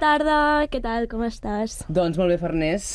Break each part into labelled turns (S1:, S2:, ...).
S1: tarda, què tal, com estàs?
S2: Doncs molt bé, Farners.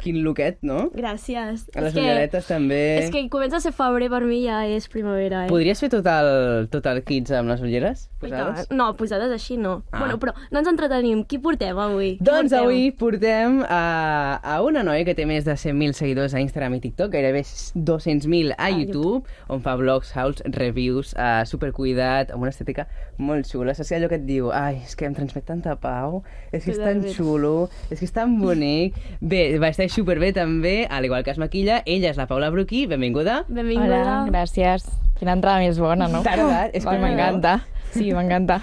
S2: Quin loquet, no?
S1: Gràcies.
S2: A les ulleretes eh. també.
S1: És que comença a ser febrer, per mi ja és primavera, eh?
S2: Podries fer tot el, tot el kids amb les ulleres?
S1: Ai,
S2: posades?
S1: que- No, posades així no.
S2: Ah.
S1: Bueno, però no ens entretenim. Qui portem avui? Qui
S2: Doncs
S1: portem?
S2: avui portem a, a una noia que té més de 100.000 seguidors a Instagram i TikTok, gairebé 200.000 a YouTube, on fa blogs, hauls, reviews, uh, supercuidat, amb una estètica molt xula. Saps allò que et diu? Ai, és que em transmet tanta pau, és que és tan
S1: Totalment.
S2: xulo, és que és tan bonic. Bé, va estar superbé també, al igual que es maquilla. Ella és la Paula Bruquí, benvinguda.
S1: Benvinguda.
S3: Hola, gràcies. Quina entrada més bona, no?
S1: Oh,
S2: Tardat, és que
S3: Va,
S2: no.
S3: M'encanta. Sí, m'encanta.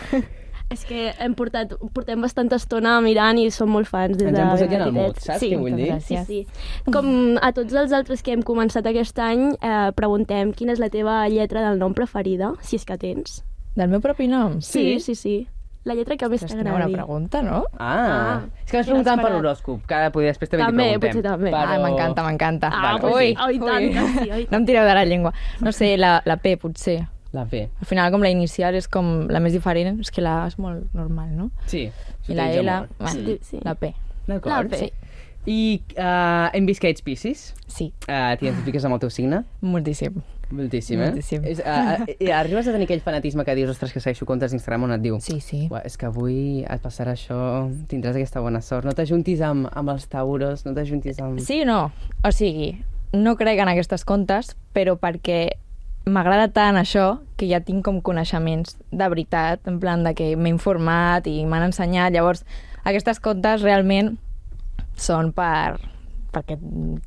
S1: És que hem portat, portem bastanta estona mirant i som molt fans des
S2: Ens
S1: de
S2: hem posat
S1: ben
S2: ja en el mood,
S1: petitets.
S2: saps
S1: sí.
S2: què vull dir?
S1: Sí,
S3: Gràcies.
S1: sí. Com a tots els altres que hem començat aquest any, eh, preguntem quina és la teva lletra del nom preferida, si és que tens.
S3: Del meu propi nom?
S1: Sí, sí, sí. La lletra que més
S3: Ostres, quina
S1: t'agradi.
S3: bona pregunta, no?
S2: Ah,
S1: Ah,
S2: és que vas preguntant per
S1: inesperat.
S2: l'horòscop, que ara poder, després també,
S1: També,
S2: t'hi preguntem.
S1: potser també.
S3: Ah, m'encanta, m'encanta.
S1: Ah,
S2: Vale, pues
S3: ui,
S2: sí.
S1: Oh, i tant,
S3: ui.
S1: que sí, oi.
S3: No em tireu de la llengua. No sé, la, la P, potser.
S2: La P.
S3: Al final, com la inicial és com la més diferent, és que la A és molt normal, no?
S2: Sí,
S3: I la
S2: s'utilitza
S3: L,
S2: molt.
S3: bueno,
S1: Sí, sí.
S3: la P.
S1: La
S2: D'acord.
S1: P.
S2: Sí. I uh, hem vist que ets Piscis.
S3: Sí,
S2: Uh, T'identifiques amb el teu signe?
S3: moltíssim.
S2: Moltíssim, eh?
S3: Moltíssim.
S2: És, uh, uh, arribes a tenir aquell fanatisme que dius, ostres, que segueixo comptes d'Instagram on et diu
S3: Sí, sí.
S2: "Ua, és que avui et passarà això, tindràs aquesta bona sort, no t'ajuntis amb, amb els tauros, no t'ajuntis amb...
S3: Sí o no? O sigui, no crec en aquestes contes, però perquè m'agrada tant això que ja tinc com coneixements de veritat, en plan de que m'he informat i m'han ensenyat. Llavors, aquestes contes realment són per perquè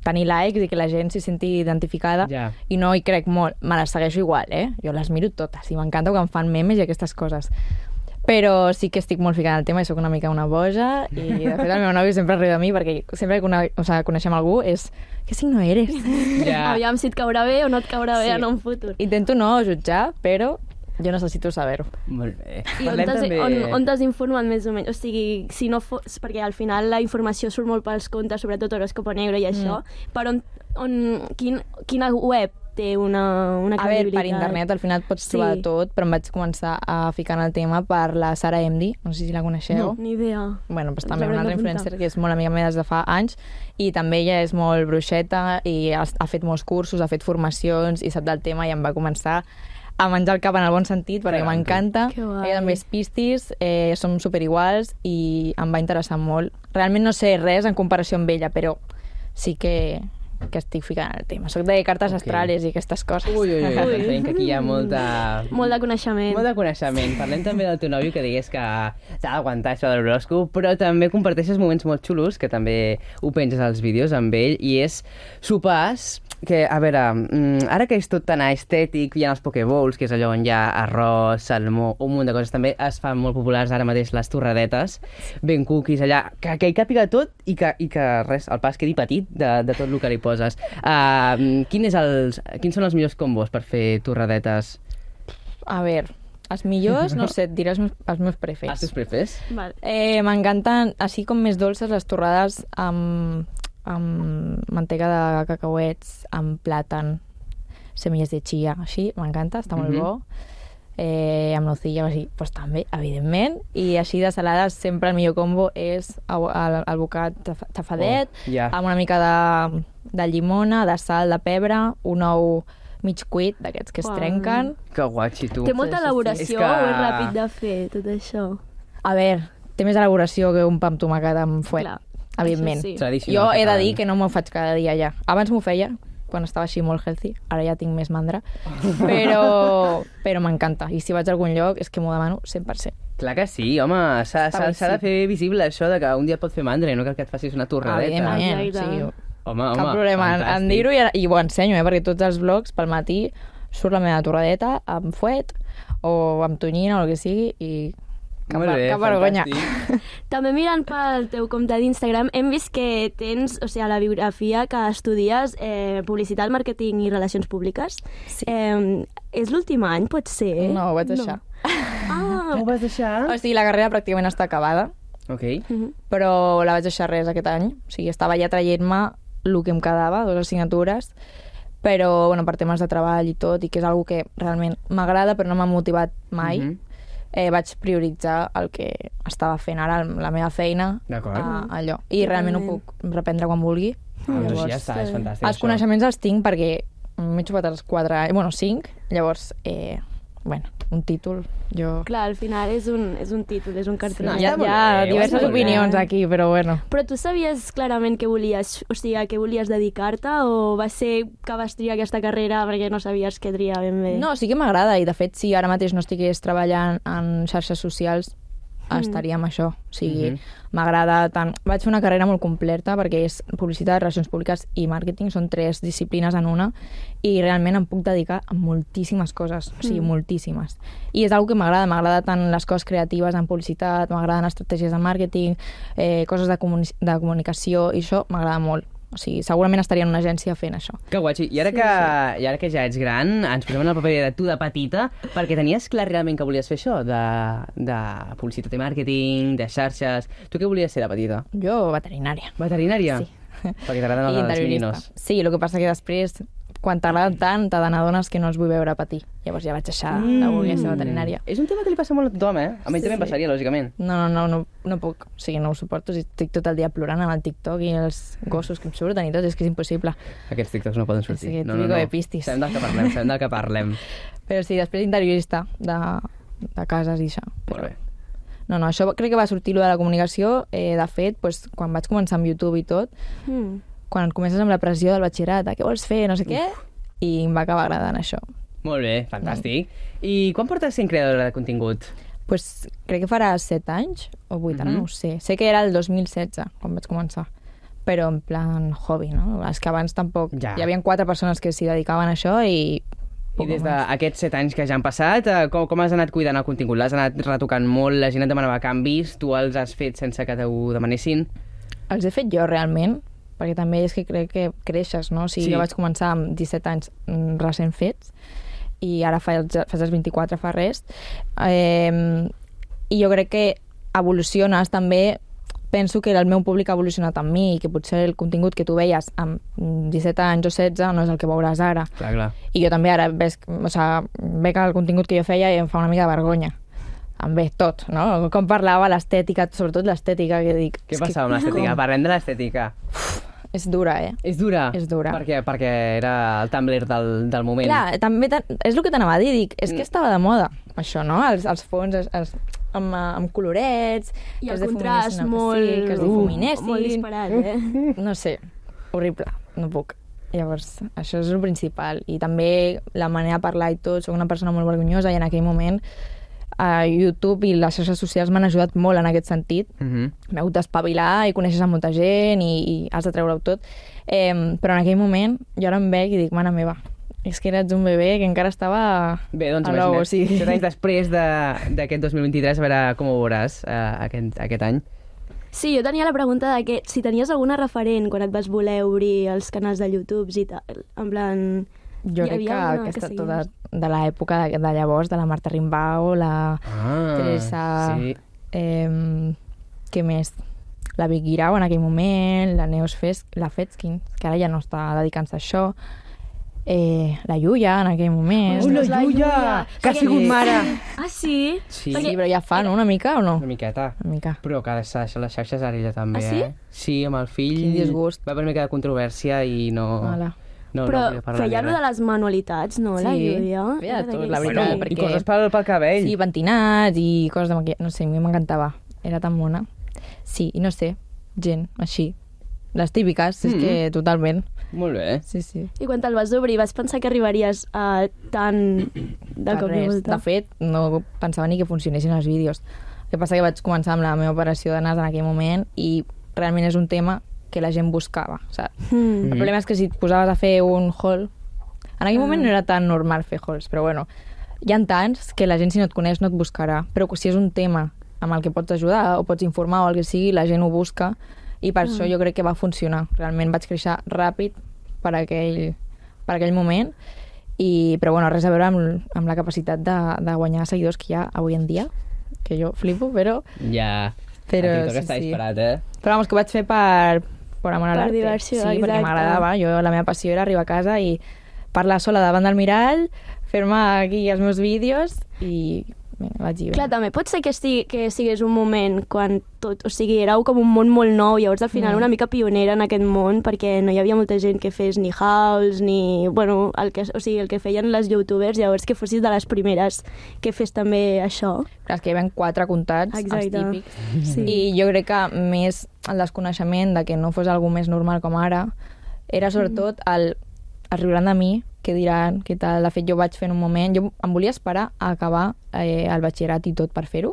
S3: tenir likes i que la gent s'hi senti identificada
S2: Ja.
S3: i no hi crec molt. Me les segueixo igual, eh? Jo les miro totes i m'encanta quan fan memes i aquestes coses. Però sí que estic molt ficada al tema i sóc una mica una boja i de fet el meu nòvio sempre riu de mi perquè sempre que una, o sigui, coneixem algú és que si no eres?
S2: Ja.
S1: Aviam si et caurà bé o no et caurà bé
S3: Sí.
S1: en un futur.
S3: Intento no jutjar, però jo necessito saber-ho.
S2: Molt bé.
S1: I on
S2: Parlem
S1: t'has
S2: també-
S1: on, on t'has informat més o menys? O sigui, si no fos... Perquè al final la informació surt molt pels comptes, sobretot Horoscopo Negro i això,
S3: Mm.
S1: per on, on, quin, quina web té una, una
S3: A veure,
S1: credibilitat?
S3: per internet al final et pots
S1: Sí.
S3: sí. trobar de tot, però em vaig començar a ficar en el tema per la Sara Emdi, no sé si la coneixeu.
S1: Ni idea.
S3: Bueno, pues,
S1: Ens
S3: també
S1: haurem
S3: una altra
S1: d'apuntar.
S3: influencer que és molt amiga meva des de fa anys i també ella és molt bruixeta i ha, ha fet molts cursos, ha fet formacions i sap del tema i em va començar a menjar el cap en el bon sentit perquè
S2: Caram, tu.
S3: m'encanta.
S1: Que guai.
S3: Ella també és pistis, eh, som superiguals i em va interessar molt. Realment no sé res en comparació amb ella, però sí que, que estic ficant en el tema. Soc de cartes
S2: Ok.
S3: astrales i aquestes coses.
S2: Ui, ui, ui,
S1: Ui.
S2: entenc que aquí hi ha molta...
S1: Molt de coneixement.
S2: Molt de coneixement. Parlem també del teu nòvio que deies que t'ha d'aguantar això de l'horòscop, però també comparteixes moments molt xulos, que també ho penges als vídeos amb ell, i és sopars que, a veure, mm, ara que és tot tan estètic, hi ha els pokeballs, que és allò on hi ha arròs, salmó, un munt de coses, també es fan molt populars ara mateix les torradetes, ben cookies allà, que, que hi càpiga tot i que, i que res, el pas quedi petit de, de tot el que li poses. Uh, quin és els, quins són els millors combos per fer torradetes?
S3: A veure, els millors, no sé, et diré els meus, els meus preferits.
S2: Els teus prefers?
S1: Vale.
S3: Eh, M'encanten, així com més dolces, les torrades amb, amb mantega de cacauets, amb plàtan, semilles de chia, així, m'encanta, està molt
S2: Mhm.
S3: bo. Eh, amb nocilla, així, pues, també, evidentment. I així de salades, sempre el millor combo és el, el, el bocat taf- tafadet,
S2: Oh, ja.
S3: amb una mica de, de llimona, de sal, de pebre, un ou mig cuit, d'aquests que es
S1: Uau.
S3: trenquen.
S2: Que guatxi, tu.
S1: Té molta
S3: sí, sí.
S1: elaboració
S2: És que-
S1: o és ràpid de fer, tot això?
S3: A veure, té més elaboració que un pa amb tomàquet amb fuet,
S1: Clar,
S3: Clar, evidentment.
S1: això sí.
S2: Tradicional
S3: Jo he de
S2: catalana.
S3: dir que no m'ho faig cada dia ja. Abans m'ho feia, quan estava així molt healthy, ara ja tinc més mandra, però, però m'encanta. I si vaig a algun lloc és que m'ho demano 100%.
S2: Clar que sí, home, s'ha
S3: Està
S2: s'ha-
S3: bé,
S2: s'ha de
S3: sí.
S2: fer visible això de que un dia et pot fer mandra, no cal que et facis una torradeta.
S1: Evidentment.
S3: Evidentment,
S1: Exacte.
S3: sí,
S2: Home, home,
S3: cap problema en, en
S2: fantàstic.
S3: dir-ho i, i ho ensenyo, eh, perquè tots els blogs pel matí surt la meva torradeta amb fuet o amb tonyina o el que sigui i cap,
S2: Molt bé,
S3: cap vergonya.
S2: fantàstic.
S1: També mirant pel teu compte d'Instagram hem vist que tens, o sigui, a la biografia que estudies eh, publicitat, màrqueting i relacions públiques.
S3: Sí.
S1: Eh, és l'últim any, pot ser?
S3: No, ho vaig deixar.
S1: Ah,
S2: Ho vas deixar?
S3: O sigui, la carrera pràcticament està acabada,
S2: Ok.
S1: mhm.
S3: però la vaig deixar res aquest any. O sigui, estava ja traient-me el que em quedava, dues assignatures, però bueno, per temes de treball i tot, i que és algo que realment m'agrada però no m'ha motivat mai.
S2: Mhm.
S3: eh, vaig prioritzar el que estava fent ara, el- la meva feina,
S2: D'acord.
S3: a allò. I realment ho
S1: Mhm. Totalment.
S3: puc reprendre quan vulgui.
S2: Ah, doncs
S3: Llavors,
S2: ja està, és
S1: eh,
S2: fantàstic.
S3: Els
S2: això.
S3: coneixements els tinc perquè m'he xupat els 4 anys, bueno, 5, llavors, eh, bueno, un títol, jo...
S1: Clar, al final és un, és un títol, és un cartell.
S2: No,
S3: hi ha,
S2: està
S3: hi
S2: molt
S3: ha
S2: bé, ho
S3: diverses
S1: està molt bé.
S3: opinions aquí, però bueno.
S1: Però tu sabies clarament què volies, o sigui, a què volies dedicar-te o va ser que vas triar aquesta carrera perquè no sabies què triar ben bé?
S3: No, sí que m'agrada i de fet si ara mateix no estigués treballant en xarxes socials
S1: Mm.
S3: estaria amb això. O sigui,
S2: Mhm.
S3: m'agrada tant... Vaig fer una carrera molt completa perquè és publicitat, relacions públiques i màrqueting, són tres disciplines en una i realment em puc dedicar a moltíssimes coses, o sigui,
S1: Mm.
S3: moltíssimes. I és una que m'agrada, m'agrada tant les coses creatives en publicitat, m'agraden estratègies de màrqueting, eh, coses de, comuni de comunicació i això m'agrada molt. O sigui, segurament estaria en una agència fent això.
S2: Que guatxi. I ara,
S1: Sí,
S2: que, I ara que ja ets gran, ens posem en el paper de tu de petita, perquè tenies clar realment que volies fer això, de, de publicitat i màrqueting, de xarxes... Tu què volies ser de petita?
S3: Jo, veterinària.
S2: Veterinària?
S3: Sí.
S2: Perquè t'agraden
S3: I
S2: els, els
S3: interiorista.
S2: meninos.
S3: Sí, el que passa que després, quan t'agrada tant, te n'adones que no els vull veure patir. Llavors ja vaig deixar de
S2: Mm.
S3: voler ser veterinària.
S2: És un tema que li passa molt a tothom, eh? A mi sí, també em passaria, lògicament.
S3: No, no, no, no, no puc. O sigui, no ho suporto. Si estic tot el dia plorant amb el TikTok i els gossos que em surten i tot, és que és impossible.
S2: Aquests TikToks no poden sortir.
S3: que
S2: no, no,
S3: típico
S2: no.
S3: de pistis.
S2: Sabem del que parlem, sabem del que parlem.
S3: Però sí, després interiorista de, de cases i això.
S2: Molt bé.
S3: No, no, això crec que va sortir lo de la comunicació. Eh, de fet, pues, quan vaig començar amb YouTube i tot,
S1: Hmm.
S3: quan comences amb la pressió del batxillerat, de què vols fer, no sé què, i em va acabar agradant això.
S2: Molt bé, fantàstic. I quan portes sent creadora de contingut?
S3: pues, crec que farà 7 anys o 8, ara
S2: Mhm.
S3: no ho sé. Sé que era el 2016 quan vaig començar, però en plan hobby, no? És que abans tampoc...
S2: Ja.
S3: Hi havia quatre persones que s'hi dedicaven a això i...
S2: I
S3: poc
S2: des
S3: més.
S2: d'aquests set anys que ja han passat, eh, com, com has anat cuidant el contingut? L'has anat retocant molt, la gent et demanava canvis, tu els has fet sense que t'ho demanessin?
S3: Els he fet jo realment, perquè també és que crec que creixes, no? O sigui,
S2: Sí.
S3: sí. jo vaig començar amb 17 anys mm, recent fets i ara fa els, fas els 24 fa res. Eh, I jo crec que evoluciones també penso que el meu públic ha evolucionat amb mi i que potser el contingut que tu veies amb 17 anys o 16 no és el que veuràs ara.
S2: Clar, clar.
S3: I jo també ara ves, o sea, veig el contingut que jo feia i em fa una mica de vergonya. Em ve tot, no? Com parlava, l'estètica, sobretot l'estètica, que dic...
S2: Què
S3: és
S2: passava amb l'estètica? Parlem de l'estètica.
S3: Que és dura, eh?
S2: És dura.
S3: És dura.
S2: Per què? Perquè era el Tumblr del, del moment.
S3: Clar, també tan- és el que t'anava a dir, dic, és que estava de moda, això, no? Els, els fons els, els, amb, eh, amb colorets...
S1: I el
S3: que es
S1: contrast
S3: difuminessin-
S1: molt...
S3: Sí, que es
S1: uh,
S3: difuminessin...
S1: molt disparat, eh?
S3: No sé, horrible, no puc. Llavors, això és el principal. I també la manera de parlar i tot, soc una persona molt vergonyosa i en aquell moment a YouTube i les xarxes socials m'han ajudat molt en aquest sentit.
S2: Mhm.
S3: M'he hagut d'espavilar i coneixes a molta gent i, i has de treure-ho tot. Eh, però en aquell moment jo ara em veig i dic, mare meva, és que eres un bebè que encara estava
S2: Bé, doncs
S3: a l'ou,
S2: imagina't,
S3: o sigui...
S2: set anys després de- d'aquest 2023, a veure com ho veuràs eh, aquest, aquest any.
S1: Sí, jo tenia la pregunta de que si tenies alguna referent quan et vas voler obrir els canals de YouTube i tal, en plan...
S3: Jo
S1: hi
S3: crec
S1: havia
S3: que
S1: alguna
S3: aquesta
S1: seguies?
S3: tota de l'època de, de llavors, de la Marta Rimbau, la
S2: Ah,
S3: Teresa...
S2: sí.
S3: Eh, què més? La Vicky Grau en aquell moment, la Neus Fes la Fetskin, que ara ja no està dedicant-se a això, eh, la Yuya en aquell moment...
S2: Hola,
S1: La
S2: Yuya,
S1: Yuya.
S2: que ha
S1: Sí.
S2: sigut mare.
S1: Ah, sí?
S2: Sí.
S3: Sí, però ja fa, no?, una mica o no?
S2: Una miqueta.
S3: Una mica.
S2: Però que s'ha deixat les xarxes ara ella també,
S1: Ah, sí?
S2: eh? Sí, amb el fill...
S3: Quin disgust.
S2: Va haver una mica de controvèrsia i no...
S3: Hola.
S2: No,
S1: Però
S2: no volia parlar
S1: feia lo de les manualitats, no, la
S3: Sí,
S1: Júlia?
S3: feia
S1: Era
S3: tot, la
S1: d'aquells-
S3: veritat,
S2: Bueno,
S3: Sí, perquè-
S2: I coses pel, pel cabell.
S3: Sí, pentinats i coses de maquillatge. No sé, a mi m'encantava. Era tan mona. Sí, i no sé, gent, així. Les típiques, és
S2: Mm.
S3: que totalment.
S2: Molt bé.
S3: Sí, sí.
S1: I quan te'l vas obrir, vas pensar que arribaries a tan de
S3: Per
S1: cop i
S3: res.
S1: volta?
S3: De fet, no pensava ni que funcionessin els vídeos. El que passa que vaig començar amb la meva operació de nas en aquell moment i realment és un tema que la gent buscava, saps?
S1: Mm.
S3: El problema és que si et posaves a fer un haul... En aquell moment no era tan normal fer hauls, però bueno, hi ha tants que la gent si no et coneix no et buscarà, però si és un tema amb el que pots ajudar o pots informar o el que sigui, la gent ho busca i per això jo crec que va funcionar. Realment vaig créixer ràpid per aquell, per aquell moment i, però bueno, res a veure amb, amb la capacitat de, de guanyar seguidors que hi ha avui en dia, que jo flipo, però...
S2: Ja.
S3: Però
S2: el TikTok
S3: sí,
S2: està
S3: sí.
S2: disparat, eh?
S3: Però vamos, que ho vaig fer per, per amor a
S1: Per
S3: l'arte.
S1: diversió,
S3: sí, perquè
S1: exacte.
S3: m'agradava. Jo, la meva passió era arribar a casa i parlar sola davant del mirall, fer-me aquí els meus vídeos i vinga, vaig dir bé.
S1: Clar, també pot ser que, estigui, que sigués un moment quan tot... O sigui, éreu com un món molt nou, llavors al final
S3: Mm.
S1: una mica pionera en aquest món, perquè no hi havia molta gent que fes ni house, ni... Bueno, el que, o sigui, el que feien les youtubers, llavors que fossis de les primeres que fes també això.
S3: Clar, és que hi havia quatre comptats, els típics.
S1: Sí.
S3: I jo crec que més el desconeixement de que no fos algú més normal com ara era sobretot el es riuran de mi, què diran, què tal. De fet, jo vaig fer en un moment... Jo em volia esperar a acabar eh, el batxillerat i tot per fer-ho,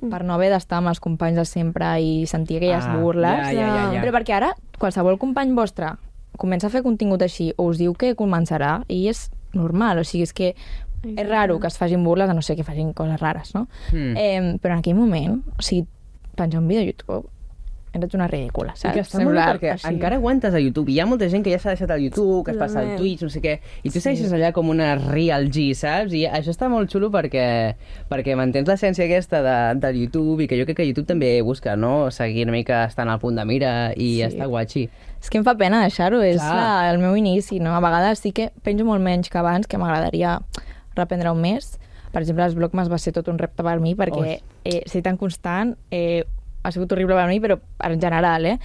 S3: per no haver d'estar amb els companys de sempre i sentir aquelles
S2: Ah,
S3: burles.
S2: Ja, ja, ja, ja.
S3: Però perquè ara qualsevol company vostre comença a fer contingut així o us diu que començarà i és normal, o sigui, és que és raro que es facin burles, a no sé que facin coses rares, no?
S2: Mm.
S3: Eh, però en aquell moment, o sigui, penjar un vídeo a YouTube, eres una ridícula,
S2: I
S3: saps?
S2: que està molt bé
S3: Semblar
S2: perquè
S3: així.
S2: encara aguantes a YouTube. Hi ha molta gent que ja s'ha deixat al YouTube, que es passa al
S1: Totalment.
S2: Twitch, no sé què, i tu segueixes allà com una real G, saps? I això està molt xulo perquè, perquè mantens l'essència aquesta de, de YouTube i que jo crec que YouTube també busca, no? Seguir una mica estant al punt de mira i
S3: Sí.
S2: sí. està guatxi.
S3: És que em fa pena deixar-ho, és
S2: Clar.
S3: la, el meu inici, no? A vegades sí que penjo molt menys que abans, que m'agradaria reprendre un mes. Per exemple, els blogmas va ser tot un repte per mi, perquè
S2: Oi.
S3: eh, ser tan constant eh, ha sigut horrible per mi, però en general, eh?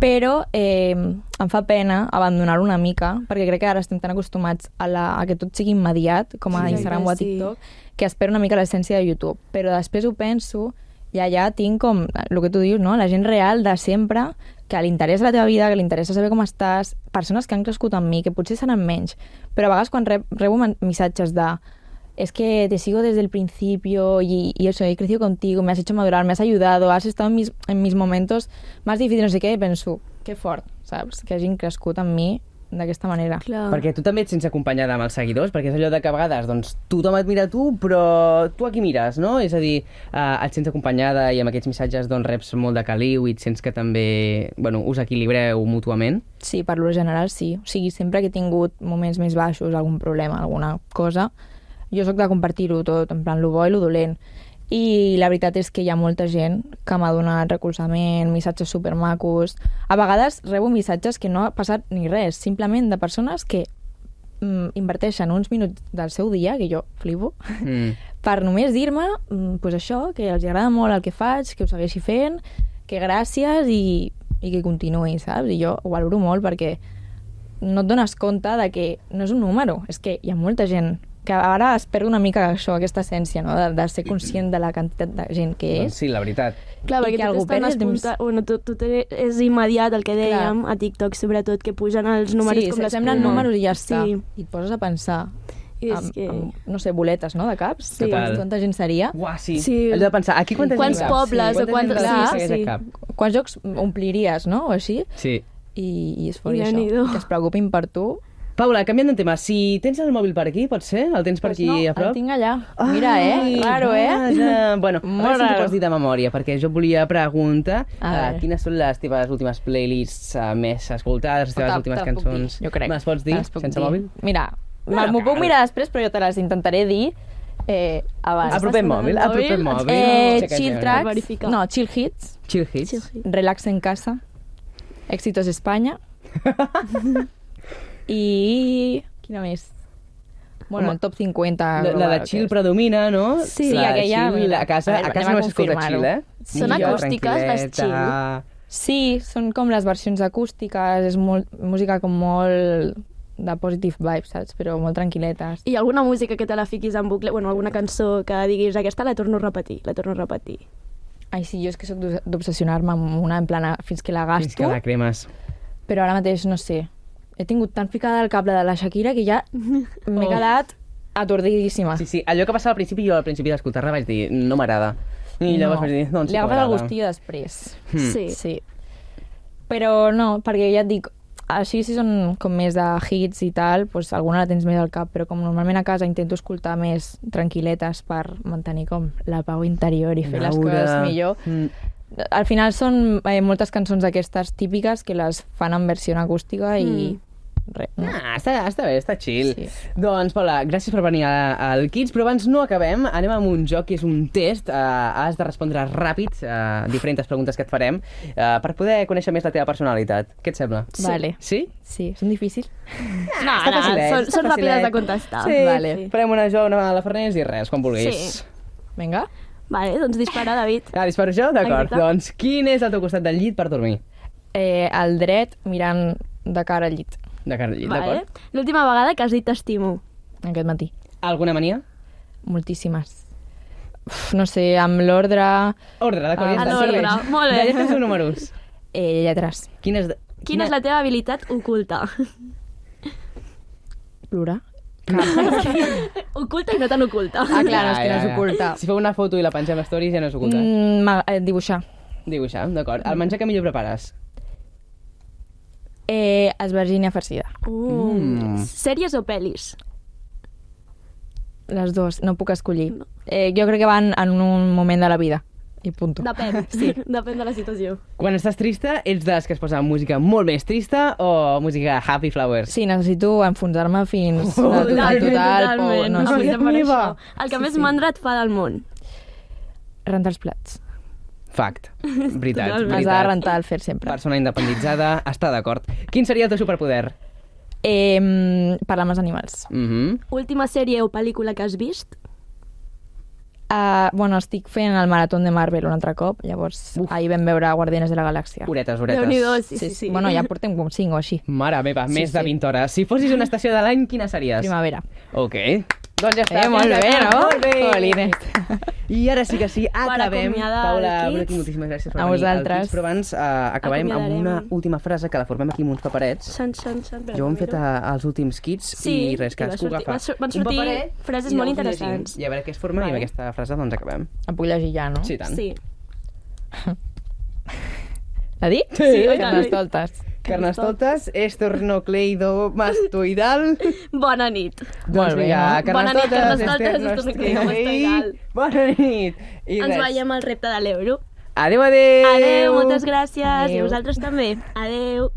S3: Però eh, em fa pena abandonar una mica, perquè crec que ara estem tan acostumats a, la, a que tot sigui immediat, com a
S1: Sí,
S3: Instagram o a
S1: sí.
S3: TikTok, que espero una mica l'essència de YouTube, però després ho penso i allà tinc com el que tu dius, no? la gent real de sempre, que li interessa la teva vida, que li interessa saber com estàs, persones que han crescut amb mi, que potser seran menys, però a vegades quan rep, rebo men- missatges de es que te sigo desde el principio y, y eso, he crecido contigo, me has hecho madurar, me has ayudado, has estado en mis, en mis momentos más difíciles, no sé què, i penso, que fort, saps? Que hagin crescut amb mi d'aquesta manera.
S1: Clar.
S2: Perquè tu també et sents acompanyada amb els seguidors, perquè és allò de que a vegades doncs, tothom et mira a tu, però tu aquí mires, no? És a dir, eh, et sents acompanyada i amb aquests missatges doncs, reps molt de caliu i et sents que també bueno, us equilibreu mútuament.
S3: Sí, per lo general sí. O sigui, sempre que he tingut moments més baixos, algun problema, alguna cosa, jo sóc de compartir-ho tot, en plan, lo bo i lo dolent. I la veritat és que hi ha molta gent que m'ha donat recolzament, missatges supermacos... A vegades rebo missatges que no ha passat ni res, simplement de persones que mm, inverteixen uns minuts del seu dia, que jo flipo,
S2: Mm.
S3: per només dir-me mm, pues això, que els agrada molt el que faig, que ho segueixi fent, que gràcies i, i que continuï, saps? I jo ho valoro molt perquè no et dones compte de que no és un número, és que hi ha molta gent que ara es perd una mica això, aquesta essència, no? de, de ser conscient de la quantitat de gent que és.
S2: Doncs sí, la veritat.
S1: Clar,
S3: I
S1: perquè
S3: que
S1: tot
S3: algú
S1: està en
S3: perdi
S1: els
S3: el temps.
S1: punta... Bueno, tot, tot és immediat el que dèiem a TikTok, sobretot, que pugen els números
S3: sí,
S1: com les
S3: semblen
S1: plomes.
S3: números i ja està.
S1: Sí.
S3: I et poses a pensar
S1: I és
S3: amb,
S1: que-
S3: amb, no sé, boletes, no?, de caps.
S1: Sí.
S2: Total.
S3: Quanta gent seria?
S2: Uah, sí.
S1: Sí.
S2: Allò de pensar, aquí quanta
S1: Quants
S2: gent hi ha?
S1: pobles
S2: Quanta
S1: o quants-
S2: gent hi ha?
S3: clar,
S2: Segueix
S1: sí.
S2: el cap.
S3: Quants jocs ompliries, no?, o així.
S2: Sí.
S3: I, i és fort
S1: I
S3: això,
S1: Déu-n'hi-do.
S3: que es preocupin per tu.
S2: Paula, canviant de tema, si tens el mòbil per aquí, pot ser? El tens per
S3: Pues
S2: aquí
S3: no,
S2: a prop?
S3: el tinc allà. Mira, eh? Claro, eh?
S2: vaja. Bueno,
S3: Molt
S2: a veure si
S3: raro.
S2: t'ho pots dir de memòria, perquè jo et volia preguntar
S3: A
S2: uh,
S3: veure.
S2: quines són les teves últimes playlists uh, més escoltades, les
S3: Te-
S2: teves
S3: te
S2: últimes
S3: la puc
S2: cançons.
S3: dir, jo crec.
S2: Me les pots
S3: Te
S2: dir
S3: les puc
S2: sense
S3: dir.
S2: mòbil?
S3: Mira,
S2: No,
S3: me- m'ho
S2: cal.
S3: puc mirar després, però jo te les intentaré dir eh, abans.
S2: Apropem mòbil, apropem mòbil.
S3: Eh,
S2: Checa
S3: chill
S2: general.
S1: track.
S3: tracks,
S1: verificar.
S3: no, chill hits,
S2: Chill hits.
S1: Sí, sí.
S3: relax en casa, éxitos España i... quina més? Bueno,
S2: Home,
S3: el top 50.
S2: La, la
S3: global,
S2: de
S3: que
S2: chill
S3: és.
S2: predomina, no?
S3: Sí,
S2: la
S3: aquella,
S2: Chill,
S3: mira,
S2: a casa,
S3: anem
S2: a
S3: a
S2: casa només s'escolta
S3: confirmar-ho.
S2: chill, eh?
S1: Són
S2: Música
S1: acústiques, les
S2: tranquil·leta.
S1: chill.
S3: Sí, són com les versions acústiques, és molt, música com molt de positive vibes, saps? Però molt tranquil·letes.
S1: I alguna música que te la fiquis en bucle, bueno, alguna cançó que diguis, aquesta la torno a repetir, la torno a repetir.
S3: Ai, sí, jo és que soc d'obs- d'obsessionar-me amb una, en plan, fins que la gasto,
S2: Fins que la cremes.
S3: però ara mateix, no sé, he tingut tan ficada al cap la de la Shakira que ja m'he
S2: Oh.
S3: quedat atordidíssima.
S2: Sí, sí, allò que passava al principi, jo al principi d'escoltar-la vaig dir, no m'agrada. I llavors vaig dir, doncs sí que
S3: Li agafes el
S2: m'agrada.
S3: gustillo després.
S2: Hmm.
S1: Sí.
S3: Sí. Però no, perquè ja et dic, així si són com més de hits i tal, doncs alguna la tens més al cap, però com normalment a casa intento escoltar més tranquil·letes per mantenir com la pau interior i fer les
S2: Laura.
S3: coses millor.
S2: Mm.
S3: Al final són eh, moltes cançons d'aquestes típiques que les fan en versió en acústica i... Re, no.
S2: Ah, està, està bé, està chill. Sí.
S3: Sí.
S2: Doncs, Paula, gràcies per venir a- al Kids, però abans no acabem. Anem amb un joc que és un test. Uh, has de respondre ràpid a uh, diferents preguntes que et farem uh, per poder conèixer més la teva personalitat. Què et sembla?
S3: Sí. Vale.
S2: Sí?
S3: Sí, són difícils.
S1: No,
S2: Està facilet,
S1: són,
S2: està
S1: són ràpides
S2: facilet.
S1: de contestar.
S2: Sí,
S1: Vale.
S2: farem una jo, una a la Farners i res, quan vulguis.
S1: Sí.
S3: Vinga.
S1: Vale, doncs dispara, David.
S2: Ah, disparo jo? D'acord.
S1: Exacte.
S2: Doncs quin és el teu costat del llit per dormir?
S3: Eh, el dret mirant de cara al llit,
S2: De cara al llit,
S1: Vale.
S2: d'acord?
S1: L'última vegada que has dit t'estimo.
S3: aquest matí.
S2: Alguna mania?
S3: Moltíssimes. Uf, no sé, amb l'ordre...
S2: Ordre,
S3: Ah,
S2: d'acord. ja està,
S1: a l'ordre,
S2: serveix.
S1: molt bé.
S2: Ja ja tens números.
S3: Eh, lletres.
S2: Quina és...
S1: Quina és la teva habilitat oculta?
S3: Plorar. Cap.
S1: oculta i no tan oculta.
S3: Ah, clar, no, és que no és oculta.
S2: Si feu una foto i la pengem a stories ja no és oculta. Mm.
S3: Mm, ma- eh, dibuixar.
S2: Dibuixar, d'acord. El menjar que millor prepares?
S3: Eh, esvergínia farcida.
S1: Uh,
S2: Mm.
S1: Sèries o pel·lis?
S3: Les dues, no puc escollir. Eh, jo crec que van en un moment de la vida. I punto.
S1: Depèn, sí. Depèn de la situació.
S2: Quan estàs trista, ets de les que es posa música molt més trista o música happy flowers?
S3: Sí, necessito enfonsar-me fins
S2: Oh,
S3: al total, total o no
S2: Ai,
S3: sé,
S1: Aprofitem per
S2: meva.
S1: això. El que sí, més sí. mandra et fa del món.
S3: rentar els plats.
S2: Fact. Veritat,
S1: Totalment.
S3: Has de
S2: veritat.
S3: rentar el fer sempre.
S2: Persona independitzada, està d'acord. Quin seria el teu superpoder?
S3: Eh, mm, parlar amb els animals.
S2: Mm -hmm.
S1: Última sèrie o pel·lícula que has vist?
S3: Uh, bueno, estic fent el marató de Marvel un altre cop, llavors
S2: Uf.
S3: Uf. ahir vam veure Guardianes de la Galàxia.
S2: Horetes,
S1: Déu-n'hi-do,
S2: horetes.
S1: sí, sí, sí.
S3: Bueno, ja portem com 5 o així.
S2: Mare meva, més de
S3: sí.
S2: 20 hores. Si fossis una estació de l'any, quina series?
S3: Primavera.
S2: Ok. Doncs ja està.
S3: Eh, molt
S2: fins
S3: bé,
S2: aquí.
S3: no?
S2: Molt bé.
S3: Jolines.
S2: I ara sí que sí, acabem.
S1: acomiadar
S2: Paula,
S1: el Kids.
S2: Brooke, moltíssimes gràcies per
S3: A
S2: venir al
S3: vosaltres.
S2: Kids, però abans eh, acabarem amb una
S1: Acomiadarem.
S2: última frase que la formem aquí amb uns paperets.
S1: Sant, sant, sant.
S2: Jo ho hem fet a, als últims Kids
S1: Sí,
S2: i res,
S1: i va
S2: cadascú
S1: sortir-
S2: agafa
S1: va sor- van
S2: un
S1: sortir
S2: paperet
S1: frases
S2: i
S1: molt
S2: llavors llegim.
S1: interessants.
S2: I a veure què es forma i amb
S3: Vale.
S2: aquesta frase doncs acabem.
S3: Em puc llegir ja, no?
S2: Sí, tant.
S1: Sí.
S3: La dic?
S2: Sí, Sí,
S1: oi tant.
S3: Carnestoltes.
S2: Carnestoltes, estornocleidomastoidal...
S1: Bona nit.
S2: Doncs
S3: Molt bé,
S2: vinga,
S3: no?
S1: Bona nit,
S2: carnestoltes,
S1: carnestoltes, estornocleidomastoidal.
S2: estornocleidomastoidal... Bona nit! I
S1: Ens
S2: res.
S1: veiem al repte de l'euro.
S2: Adéu, adéu!
S1: Adeu, moltes gràcies.
S3: Adéu.
S1: I a vosaltres també. Adeu.